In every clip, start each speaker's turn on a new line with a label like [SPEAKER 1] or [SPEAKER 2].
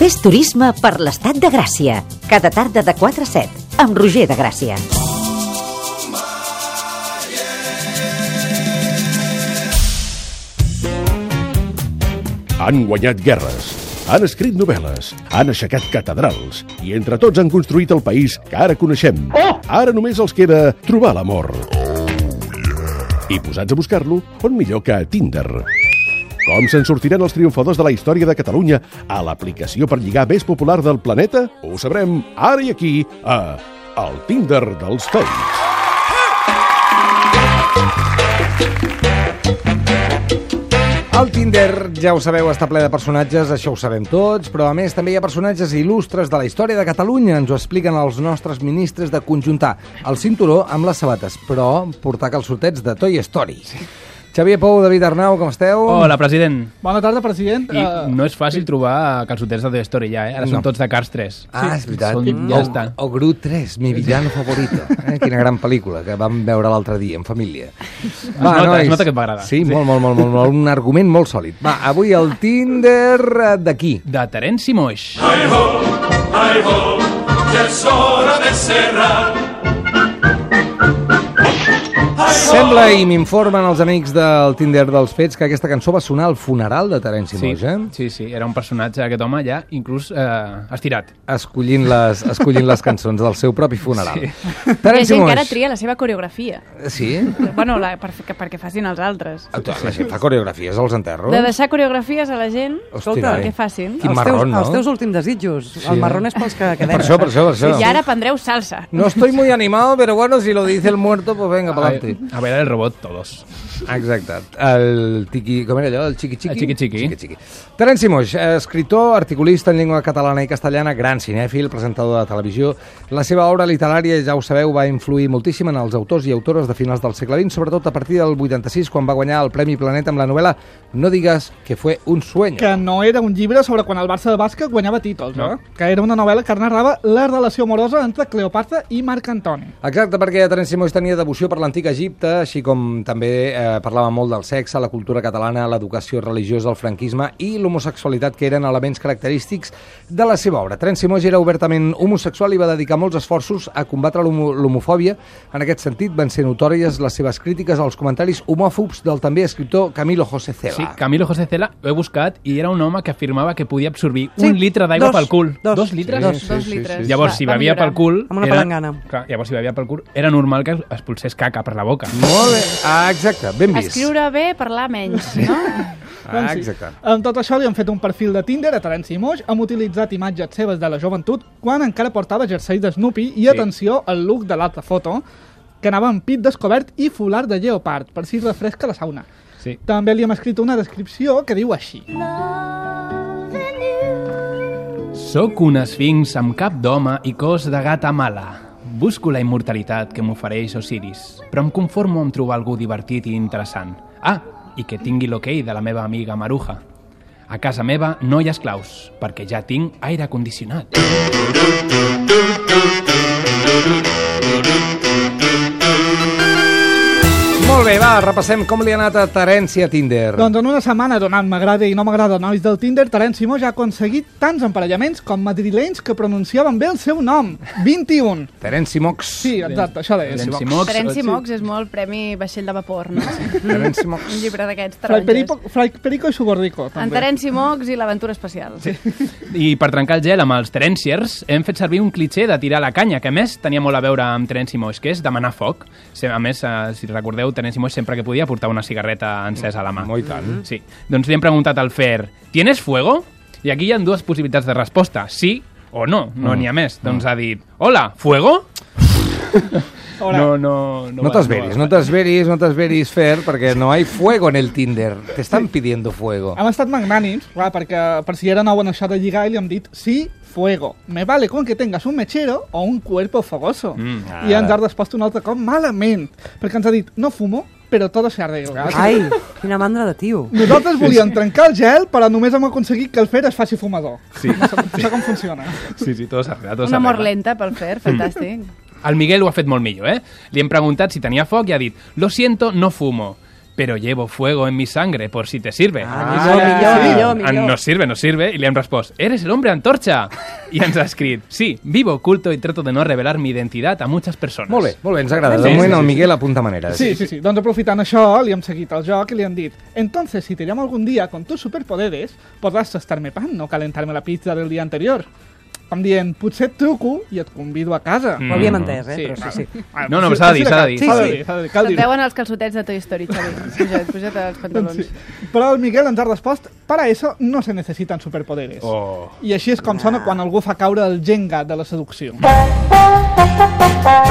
[SPEAKER 1] Fes turisme per l'estat de Gràcia. Cada tarda de 4 a 7, amb Roger de Gràcia.
[SPEAKER 2] Han guanyat guerres, han escrit novel·les, han aixecat catedrals i entre tots han construït el país que ara coneixem. Ara només els queda trobar l'amor. I posats a buscar-lo, on millor que a Tinder. Com se'n sortiran els triomfadors de la història de Catalunya a l'aplicació per lligar més popular del planeta? Ho sabrem ara i aquí, a El Tinder dels Fakes.
[SPEAKER 3] El Tinder, ja ho sabeu, està ple de personatges, això ho sabem tots, però a més també hi ha personatges il·lustres de la història de Catalunya, ens ho expliquen els nostres ministres de conjuntar el cinturó amb les sabates, però portar calçotets de Toy Story. Xavier Pou, David Arnau, com esteu?
[SPEAKER 4] Hola, president.
[SPEAKER 5] Bona tarda, president. Eh,
[SPEAKER 4] I no és fàcil trobar calçotets de Toy Story ja, eh? Ara
[SPEAKER 3] No.
[SPEAKER 4] són tots de Cars 3.
[SPEAKER 3] Ah, és veritat.
[SPEAKER 4] Són-
[SPEAKER 3] Mm.
[SPEAKER 4] ja
[SPEAKER 3] o,
[SPEAKER 4] està.
[SPEAKER 3] O Gru 3, mi villano favorito. Eh? Quina gran pel·lícula que vam veure l'altre dia, en família.
[SPEAKER 4] nota,
[SPEAKER 3] nois.
[SPEAKER 4] es nota que et va agradar.
[SPEAKER 3] Sí, sí. Molt, molt, molt, molt, molt, un argument molt sòlid. Va, avui el Tinder eh, d'aquí.
[SPEAKER 4] De Terence i Moix.
[SPEAKER 6] Ay, ho, ya es hora de cerrar.
[SPEAKER 3] Sembla, i m'informen els amics del Tinder dels fets, que aquesta cançó va sonar al funeral de Terence
[SPEAKER 4] Sí,
[SPEAKER 3] Moix, eh?
[SPEAKER 4] sí, sí, era un personatge, aquest home, ja, inclús eh, estirat.
[SPEAKER 3] Escollint les, escollint les cançons del seu propi funeral. Sí.
[SPEAKER 7] Hi ha gent que ara tria la seva coreografia.
[SPEAKER 3] Sí?
[SPEAKER 7] Bueno, la, per, fer- que, perquè facin els altres.
[SPEAKER 3] La gent fa coreografies als enterros.
[SPEAKER 7] De deixar coreografies a la gent
[SPEAKER 3] Hosti, noi.
[SPEAKER 7] perquè facin.
[SPEAKER 3] Quin
[SPEAKER 8] els
[SPEAKER 3] marrón,
[SPEAKER 8] teus,
[SPEAKER 3] no?
[SPEAKER 8] Els teus últims desitjos. Sí. El marrón és pels que quedem.
[SPEAKER 3] Per això, per això, per això.
[SPEAKER 7] I ara prendreu salsa.
[SPEAKER 3] No estoy muy animado, pero bueno, si lo dice el muerto, pues venga,
[SPEAKER 4] A,
[SPEAKER 3] pa'lante.
[SPEAKER 4] a veure el robot, todos.
[SPEAKER 3] Exacte. El tiqui... Com era allò? El xiqui xiqui?
[SPEAKER 4] El xiqui xiqui.
[SPEAKER 3] xiqui, xiqui. Terence Moix, eh, escritor, articulista en llengua catalana i castellana, gran cinèfil, presentador de televisió. La seva obra literària, ja ho sabeu, va influir moltíssim en els autors i autores de finals del segle XX, sobretot a partir del 86, quan va guanyar el Premi Planeta amb la novel·la No digues que fue un sueño.
[SPEAKER 5] Que no era un llibre sobre quan el Barça de bàsquet guanyava títols,
[SPEAKER 4] No.
[SPEAKER 5] no. eh? Que era una novel·la que narrava la relació amorosa entre Cleopatra i Marc Antoni.
[SPEAKER 3] Exacte, perquè Terence Moix tenia devoció per l'antic Egipte, així com també eh, parlava molt del sexe, la cultura catalana, l'educació religiosa, el franquisme i l'homosexualitat, que eren elements característics de la seva obra. Terence Moix era obertament homosexual i va dedicar molts esforços a combatre l'homo- l'homofòbia. En aquest sentit, van ser notòries les seves crítiques als comentaris homòfobs del també escriptor Camilo José Cela.
[SPEAKER 4] Sí, Camilo José Cela, ho he buscat, i era un home que afirmava que podia absorbir
[SPEAKER 8] Sí,
[SPEAKER 4] un litre d'aigua
[SPEAKER 8] dos,
[SPEAKER 4] pel cul.
[SPEAKER 8] dos.
[SPEAKER 4] litres?
[SPEAKER 8] Dos.
[SPEAKER 7] Dos litres.
[SPEAKER 4] Llavors, si bevia pel cul...
[SPEAKER 8] Amb una
[SPEAKER 4] era-
[SPEAKER 8] palangana.
[SPEAKER 4] Clar, llavors, si bevia pel cul, era normal que expulsés caca per la boca.
[SPEAKER 3] Molt bé. Ah, exacte, ben vist.
[SPEAKER 7] Escriure doncs bé, parlar menys, no?
[SPEAKER 3] Ah, exacte.
[SPEAKER 5] Doncs Amb tot això li han fet un perfil de Tinder a Terence i Moix, hem utilitzat imatges seves de la joventut quan encara portava jerseis de Snoopy i, sí. atenció, el look de l'altra foto, que anava amb pit descobert i folar de lleopard, per si refresca la sauna.
[SPEAKER 4] Sí.
[SPEAKER 5] També li hem escrit una descripció que diu així.
[SPEAKER 4] Soc un esfinx amb cap d'home i cos de gata mala. Busco la immortalitat que m'ofereix Osiris, però em conformo amb trobar algú divertit i interessant. Ah, i que tingui l'hoquei de la meva amiga Maruja. A casa meva no hi ha esclaus, perquè ja tinc aire condicionat.
[SPEAKER 3] Molt bé, va, repassem com li ha anat a Terence a Tinder.
[SPEAKER 5] Doncs en una setmana donant m'agrada i no m'agrada nois del Tinder, Terence Simó ja ha aconseguit tants emparellaments com madrilenys que pronunciaven bé el seu nom. 21.
[SPEAKER 3] Terence Mox.
[SPEAKER 5] Sí, exacte, això és.
[SPEAKER 4] Terenci Mox,
[SPEAKER 7] Terence Mox és molt premi vaixell de vapor, no?
[SPEAKER 3] Terence Mox.
[SPEAKER 7] Un llibre d'aquests
[SPEAKER 5] Fray
[SPEAKER 7] taronges.
[SPEAKER 5] Perico, Fray Perico i Suborrico,
[SPEAKER 7] En
[SPEAKER 5] també.
[SPEAKER 7] Terence Mox i l'aventura especial. Sí.
[SPEAKER 4] I per trencar el gel amb els Terenciers hem fet servir un clitxé de tirar la canya, que a més tenia molt a veure amb Terence i Moix, que és demanar foc. Se- A més, eh, si recordeu, Terence i Moix sempre que podia portava una cigarreta encesa a la mà.
[SPEAKER 3] Molt i tant.
[SPEAKER 4] Sí. Doncs li hem preguntat al Fer, ¿tienes fuego? I aquí hi ha dues possibilitats de resposta, sí o no, no
[SPEAKER 3] Mm.
[SPEAKER 4] n'hi ha més. Doncs ha dit, hola, fuego?
[SPEAKER 5] Hola.
[SPEAKER 4] No, no,
[SPEAKER 3] No
[SPEAKER 4] no, va-
[SPEAKER 3] t'esveris,
[SPEAKER 4] va.
[SPEAKER 3] no t'esveris, no t'esveris, Fer, perquè no hay fuego en el Tinder. Te estan pidiendo fuego.
[SPEAKER 4] Ah,
[SPEAKER 5] Hem estat magnànims, clar, perquè per si era nou en això de lligar i li hem dit sí, fuego. Me vale con que tengas un mechero o un cuerpo fogoso. Mm, I ens ha respost un altre cop malament, perquè ens ha dit no fumo, però todo se arregla.
[SPEAKER 8] Ai, quina mandra de tio.
[SPEAKER 5] Nosaltres volíem trencar el gel, però només hem aconseguit que el Fer es faci fumador. Sí. No sé, no sé com funciona.
[SPEAKER 4] Sí, sí, tot s'arregla, tot
[SPEAKER 7] Una mort
[SPEAKER 4] s'arregla.
[SPEAKER 7] lenta pel Fer, fantàstic.
[SPEAKER 4] El Miguel ho ha fet molt millor, eh? Li hem preguntat si tenia foc i ha dit «Lo siento, no fumo». pero llevo fuego en mi sangre, por si te sirve.
[SPEAKER 8] Ah,
[SPEAKER 5] millor,
[SPEAKER 8] millor,
[SPEAKER 4] En No sirve, no sirve. Y le han respost, eres el hombre antorcha. Y ens ha escrit, sí, vivo oculto y trato de no revelar mi identidad a muchas personas.
[SPEAKER 3] Molt bé, molt bé, ens agrada. De
[SPEAKER 4] Sí,
[SPEAKER 3] moment
[SPEAKER 4] sí,
[SPEAKER 3] el
[SPEAKER 4] sí,
[SPEAKER 3] Miguel apunta maneres.
[SPEAKER 5] Sí, sí, sí. Doncs aprofitant això, li hem seguit el joc i li han dit «Entonces, si te llamo algún día con tus superpoderes, podràs tastar-me pan o calentar-me la pizza del dia anterior». Em dient «Potser et truco i et convido a casa».
[SPEAKER 4] Mm.
[SPEAKER 8] Ho havíem entès, eh?
[SPEAKER 5] Sí,
[SPEAKER 8] Però sí,
[SPEAKER 5] clar.
[SPEAKER 8] sí.
[SPEAKER 5] Ah,
[SPEAKER 4] No, no,
[SPEAKER 5] sí,
[SPEAKER 4] s'ha de dir,
[SPEAKER 5] sí,
[SPEAKER 4] s'ha de dir.
[SPEAKER 5] S'ha de
[SPEAKER 8] Sí,
[SPEAKER 5] dir, s'ha de dir, cal
[SPEAKER 7] Et
[SPEAKER 5] dir-ho. Doncs
[SPEAKER 7] veuen els calçotets de Toy Story, Xavi. Puja't, puja't els pantalons.
[SPEAKER 5] Sí. Però el Miguel ens ha respost «Para eso no se necesitan superpoderes».
[SPEAKER 4] Oh.
[SPEAKER 5] I així és com sona quan algú fa caure el jenga de la seducció.
[SPEAKER 4] Oh.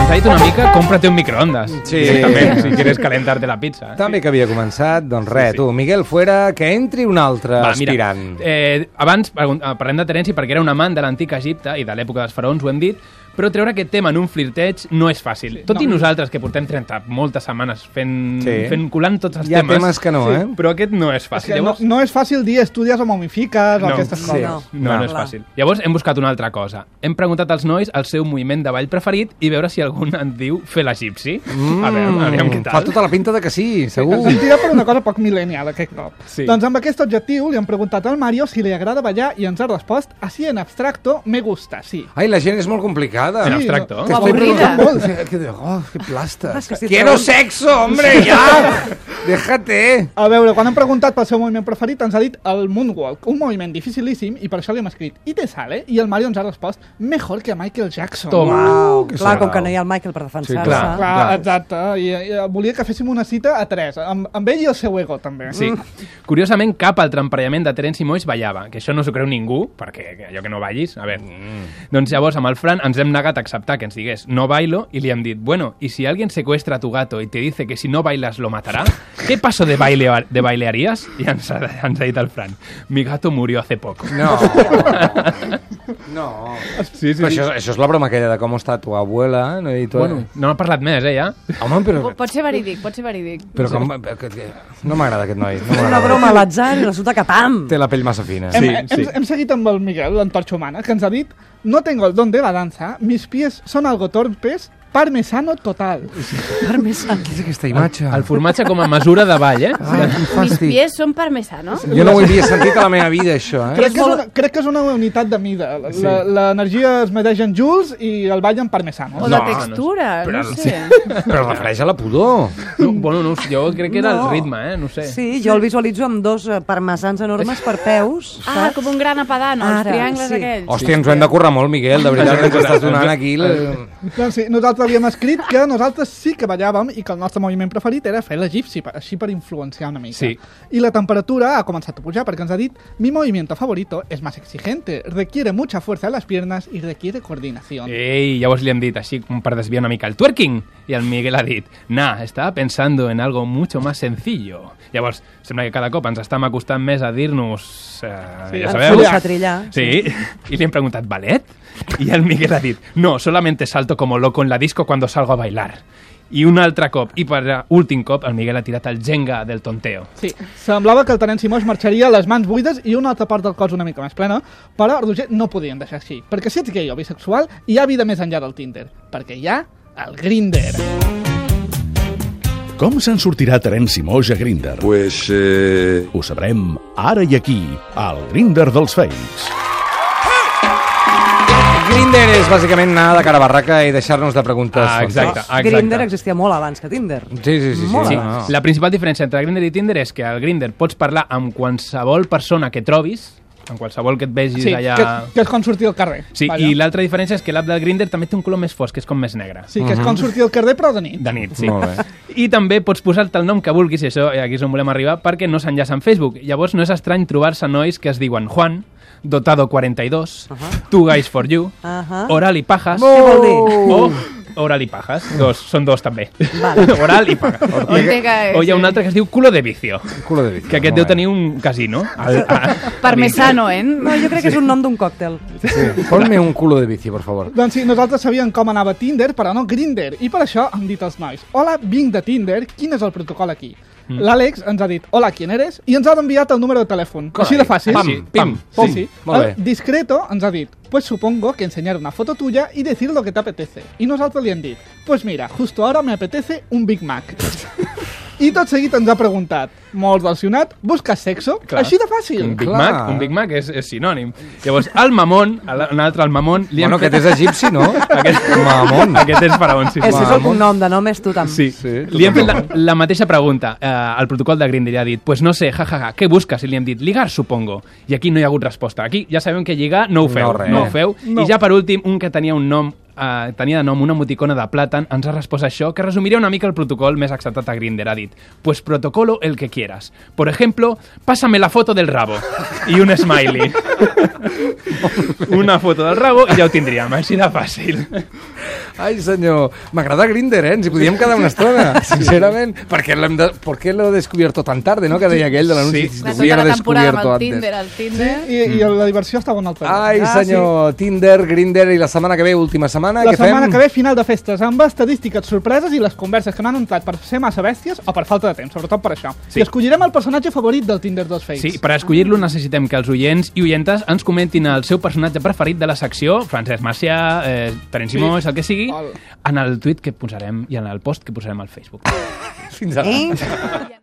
[SPEAKER 4] T'han dit una mica, cómprate un microondas.
[SPEAKER 3] Sí.
[SPEAKER 4] Directament, si quieres calentarte la pizza. eh?
[SPEAKER 3] També que havia començat, doncs res, tu, Miguel, fuera, que entri un altre
[SPEAKER 4] Va, mira,
[SPEAKER 3] aspirant.
[SPEAKER 4] eh, abans pregun- eh, parlem de Terenci perquè era un amant de l'antic Egipte i de l'època dels faraons, ho hem dit, però treure aquest tema en un flirteig no és fàcil. Tot i nosaltres, que portem 30 moltes setmanes fent,
[SPEAKER 3] Sí.
[SPEAKER 4] fent colant tots els
[SPEAKER 3] Hi ha temes que no, eh?
[SPEAKER 4] Però aquest no és
[SPEAKER 5] És
[SPEAKER 4] fàcil.
[SPEAKER 5] que no,
[SPEAKER 4] Llavors,
[SPEAKER 5] no és fàcil dir «estudies o momifiques» o
[SPEAKER 4] No,
[SPEAKER 5] aquestes
[SPEAKER 4] sí.
[SPEAKER 5] coses.
[SPEAKER 4] No, no és
[SPEAKER 8] clar.
[SPEAKER 4] fàcil. Llavors hem buscat una altra cosa. Hem preguntat als nois el seu moviment de ball preferit i veure si algun en diu fer l'egipci. Mm. A veure, aviam què
[SPEAKER 3] Fa
[SPEAKER 4] tal.
[SPEAKER 3] tota la pinta de que sí, segur.
[SPEAKER 5] Ens hem tirat per una cosa poc mil·lennial aquest cop.
[SPEAKER 4] Sí.
[SPEAKER 5] Doncs amb aquest objectiu li han preguntat al Mario si li agrada ballar i ens ha respost així en abstracto, me gusta, sí.
[SPEAKER 3] Ai, la gent és molt complicada.
[SPEAKER 4] En abstracto.
[SPEAKER 5] no,
[SPEAKER 3] Te estoy
[SPEAKER 7] Aburrida.
[SPEAKER 3] preguntando molt. Que- que- Oh, que plastas.
[SPEAKER 8] que estic
[SPEAKER 3] Quiero
[SPEAKER 8] trobant-
[SPEAKER 3] sexo, hombre, ya. Déjate.
[SPEAKER 5] A veure, quan han preguntat pel seu moviment preferit ens ha dit el moonwalk, un moviment dificilíssim i per això li hem escrit «I te sale?» i el Mario ens ha respost «Mejor que Michael Jackson».
[SPEAKER 4] Toma.
[SPEAKER 3] Uau, que
[SPEAKER 8] Clar, com
[SPEAKER 3] sonau.
[SPEAKER 8] que no hi ha el Michael per defensar-se.
[SPEAKER 3] clar.
[SPEAKER 5] Clar,
[SPEAKER 4] Clar.
[SPEAKER 5] exacte. I, i, volia que féssim una cita a tres, amb, amb ell i el seu ego, també.
[SPEAKER 4] Sí.
[SPEAKER 3] Mm.
[SPEAKER 4] Curiosament, cap altre emparellament de Terence i Moix ballava, que això no s'ho creu ningú, perquè allò que no ballis, a veure...
[SPEAKER 3] Mm.
[SPEAKER 4] Doncs llavors, amb el Fran, ens hem negat a acceptar que ens digués no bailo, i li hem dit, bueno, i si alguien secuestra a tu gato y te dice que si no bailas lo matará, ¿qué paso de, baile, de bailearías? I ens ha, ens ha dit el Fran, mi gato murió hace poco.
[SPEAKER 3] No. No.
[SPEAKER 4] Sí,
[SPEAKER 3] Però això, això és la broma aquella de com està tu abuela, no? I tu...
[SPEAKER 4] Bueno, no ha parlat més, eh, ja.
[SPEAKER 3] Home, però...
[SPEAKER 7] Po- Pot ser verídic, pot ser verídic.
[SPEAKER 3] Però com... que- que- No m'agrada aquest noi. No
[SPEAKER 8] És una
[SPEAKER 3] m'agrada.
[SPEAKER 8] broma a l'atzar i resulta que pam!
[SPEAKER 3] Té la pell massa fina.
[SPEAKER 5] Hem,
[SPEAKER 4] Sí,
[SPEAKER 5] hem,
[SPEAKER 4] sí.
[SPEAKER 5] hem seguit amb el Miguel, l'antorxa humana, que ens ha dit «No tengo el don de la danza, mis pies son algo torpes, parmesano total».
[SPEAKER 3] Què és aquesta imatge?
[SPEAKER 4] El formatge com a mesura de ball, eh?
[SPEAKER 3] Ah, quin
[SPEAKER 7] Mis
[SPEAKER 3] fàstic.
[SPEAKER 7] pies són parmesano.
[SPEAKER 3] Jo no ho havia sentit a la meva vida, això, eh?
[SPEAKER 5] Crec que, és una, crec que és una unitat de mida. La- la- L'energia es medeix en joules i el ball en parmesano.
[SPEAKER 4] No,
[SPEAKER 7] O de
[SPEAKER 4] no,
[SPEAKER 7] textura, no,
[SPEAKER 4] però-
[SPEAKER 7] sé.
[SPEAKER 3] Però es refereix a la pudor.
[SPEAKER 4] No, bueno, no, ho sé, jo crec que era
[SPEAKER 8] No.
[SPEAKER 4] el ritme, eh? No ho sé.
[SPEAKER 8] Sí, jo el visualitzo amb dos eh, parmesans enormes per peus.
[SPEAKER 7] Ah, com un gran apadano, els
[SPEAKER 8] Ara,
[SPEAKER 7] triangles
[SPEAKER 8] sí.
[SPEAKER 7] aquells.
[SPEAKER 3] Hòstia, ens ho hem de currar molt, Miquel, de veritat, que ens estàs donant aquí... La...
[SPEAKER 5] Doncs sí, nosaltres havíem escrit que nosaltres sí que ballàvem i que el nostre moviment preferit era fer l'egipci, per- així per influenciar una mica.
[SPEAKER 4] Sí.
[SPEAKER 5] I la temperatura ha començat a pujar perquè ens ha dit «Mi movimiento favorito es más exigente, requiere mucha fuerza en las piernas y requiere coordinación».
[SPEAKER 4] Ei, llavors li hem dit així com per desviar una mica el twerking i el Miguel ha dit, nah, estava pensando en algo mucho más sencillo. Llavors, sembla que cada cop ens estem acostant més a dir-nos... Eh, sí, ja
[SPEAKER 8] ens
[SPEAKER 4] sabeu.
[SPEAKER 8] posem a trillar.
[SPEAKER 4] Sí, i li hem preguntat, ballet? I el Miguel ha dit, no, solamente salto como loco en la disco cuando salgo a bailar. I un altre cop, i per últim cop, el Miguel ha tirat el jenga del tonteo.
[SPEAKER 5] Sí, semblava que el tenent Simó es marxaria les mans buides i una altra part del cos una mica més plena, però Roger no podien deixar així, perquè si ets gay o bisexual hi ha vida més enllà del Tinder, perquè hi ha el Grinder.
[SPEAKER 2] Com se'n sortirà Terence Moix a Grindr?
[SPEAKER 9] Pues eh,
[SPEAKER 2] Ho sabrem ara i aquí, al Grindr dels Fakes.
[SPEAKER 3] Grinder és bàsicament anar de cara a barraca i deixar-nos de preguntes.
[SPEAKER 4] Ah, exacte,
[SPEAKER 3] tontes.
[SPEAKER 4] exacte.
[SPEAKER 8] Grindr existia molt abans que Tinder.
[SPEAKER 3] Sí, sí, sí. sí.
[SPEAKER 8] Molt
[SPEAKER 4] Sí,
[SPEAKER 8] Ah,
[SPEAKER 3] No, no.
[SPEAKER 4] la principal diferència entre Grindr i Tinder és que al Grindr pots parlar amb qualsevol persona que trobis, amb qualsevol que et vegis
[SPEAKER 5] Sí,
[SPEAKER 4] allà...
[SPEAKER 5] que, que és com sortir al carrer.
[SPEAKER 4] Sí,
[SPEAKER 5] vaja.
[SPEAKER 4] i l'altra diferència és que l'app del Grindr també té un color més fosc, que és com més negre.
[SPEAKER 5] Sí, que és
[SPEAKER 4] Mhm.
[SPEAKER 5] com sortir al carrer, però de nit.
[SPEAKER 4] De nit, sí.
[SPEAKER 3] Molt bé.
[SPEAKER 4] I també pots posar-te el nom que vulguis, i això eh, aquí és on volem arribar, perquè no s'enllaça en Facebook. Llavors no és estrany trobar-se nois que es diuen Juan, Dotado42, uh -huh. Two Guys For You, uh
[SPEAKER 8] Ahà.
[SPEAKER 4] -huh. Oral i Pajas,
[SPEAKER 3] Oh.
[SPEAKER 8] Què vol dir?
[SPEAKER 4] o Oral i Pajas. Dos, són dos també.
[SPEAKER 8] Vale.
[SPEAKER 4] Oral i Pajas.
[SPEAKER 5] Eh,
[SPEAKER 7] Ortega,
[SPEAKER 4] O hi ha un altre que es diu Culo de Vicio.
[SPEAKER 3] Culo de eh? vicio.
[SPEAKER 4] Que aquest
[SPEAKER 3] Molt
[SPEAKER 4] deu
[SPEAKER 3] bé.
[SPEAKER 4] tenir un casino. Al, a,
[SPEAKER 7] Parmesano, eh?
[SPEAKER 8] No, jo crec que és un nom d'un còctel.
[SPEAKER 3] Sí. Ponme un culo de bici, per favor.
[SPEAKER 5] Doncs sí, nosaltres sabíem com anava Tinder, però no Grinder, i per això hem dit als nois «Hola, vinc de Tinder, quin és el protocol aquí?»
[SPEAKER 4] Mm.
[SPEAKER 5] L'Àlex ens ha dit «Hola, quién eres?» i ens ha enviat el número de telèfon. Així de fàcil.
[SPEAKER 4] Pam,
[SPEAKER 5] Sí.
[SPEAKER 4] pam,
[SPEAKER 5] Sí,
[SPEAKER 4] pum.
[SPEAKER 5] sí.
[SPEAKER 3] Molt
[SPEAKER 5] El
[SPEAKER 3] bé.
[SPEAKER 5] Discreto ens ha dit, pues supongo que enseñar una foto tuya y decir lo que te apetece. Y nosotros le han dicho, pues mira, justo ahora me apetece un Big Mac. I tot seguit ens ha preguntat, molt versionat, busca sexo?
[SPEAKER 4] Clar.
[SPEAKER 5] Així de fàcil.
[SPEAKER 4] Un Big
[SPEAKER 3] Clar.
[SPEAKER 4] Mac, un Big Mac és, és sinònim. Llavors, el mamon, el- un altre, el mamon... Li
[SPEAKER 3] Bueno, aquest és egipci, no?
[SPEAKER 4] Aquest,
[SPEAKER 3] Mamon.
[SPEAKER 4] Aquest és faraon, sí.
[SPEAKER 8] Ese és el cognom de nom, és tu també.
[SPEAKER 4] Mm, Sí,
[SPEAKER 3] Sí,
[SPEAKER 4] sí
[SPEAKER 3] tu
[SPEAKER 4] li hem fet la,
[SPEAKER 3] tampoc.
[SPEAKER 4] la mateixa pregunta eh, al protocol de Grindr i ha dit, pues no sé, jajaja, ja, ja, què busques? I li hem dit, ligar, supongo. I aquí no hi ha hagut resposta. Aquí ja sabem que lligar no ho feu,
[SPEAKER 3] No,
[SPEAKER 4] no,
[SPEAKER 3] res.
[SPEAKER 4] no ho feu.
[SPEAKER 5] No.
[SPEAKER 4] No. I ja per últim, un que tenia un nom eh, tenia de nom una emoticona de plàtan, ens ha respost això, que resumiria una mica el protocol més acceptat a Grindr. Ha dit, pues protocolo el que quieras. Por ejemplo, pásame la foto del rabo. I un smiley. una foto del rabo i ja ho tindríem, així de fàcil.
[SPEAKER 3] Ai, senyor, m'agrada Grindr, eh? Ens hi podíem quedar una estona, sincerament. Per què l'hem de... ¿Por qué lo he descubierto tan tarde, no? Que deia aquell de l'anunci.
[SPEAKER 4] Sí.
[SPEAKER 3] Si
[SPEAKER 7] Clar,
[SPEAKER 3] te
[SPEAKER 7] tota
[SPEAKER 3] hubiera
[SPEAKER 7] la temporada amb
[SPEAKER 3] descubierto
[SPEAKER 7] el
[SPEAKER 3] antes.
[SPEAKER 7] Tinder, el Tinder...
[SPEAKER 5] I, I la diversió està bona al peu.
[SPEAKER 3] Ai, senyor, Tinder, Grindr, i la setmana que ve, última setmana,
[SPEAKER 5] Ah, La
[SPEAKER 3] què
[SPEAKER 5] setmana
[SPEAKER 3] fem?
[SPEAKER 5] que ve, final de festes, amb estadístiques, sorpreses i les converses que no han entrat per ser massa bèsties o per falta de temps, sobretot per això.
[SPEAKER 4] Sí.
[SPEAKER 5] I escollirem el personatge favorit del Tinder dels Fakes.
[SPEAKER 4] Sí, per escollir-lo necessitem que els oients i oientes ens comentin el seu personatge preferit de la secció, Francesc Macià, eh, Terence sí. Moix, el que sigui,
[SPEAKER 5] Hola.
[SPEAKER 4] en el tuit que posarem i en el post que posarem al Facebook.
[SPEAKER 3] Fins ara.
[SPEAKER 8] Eh?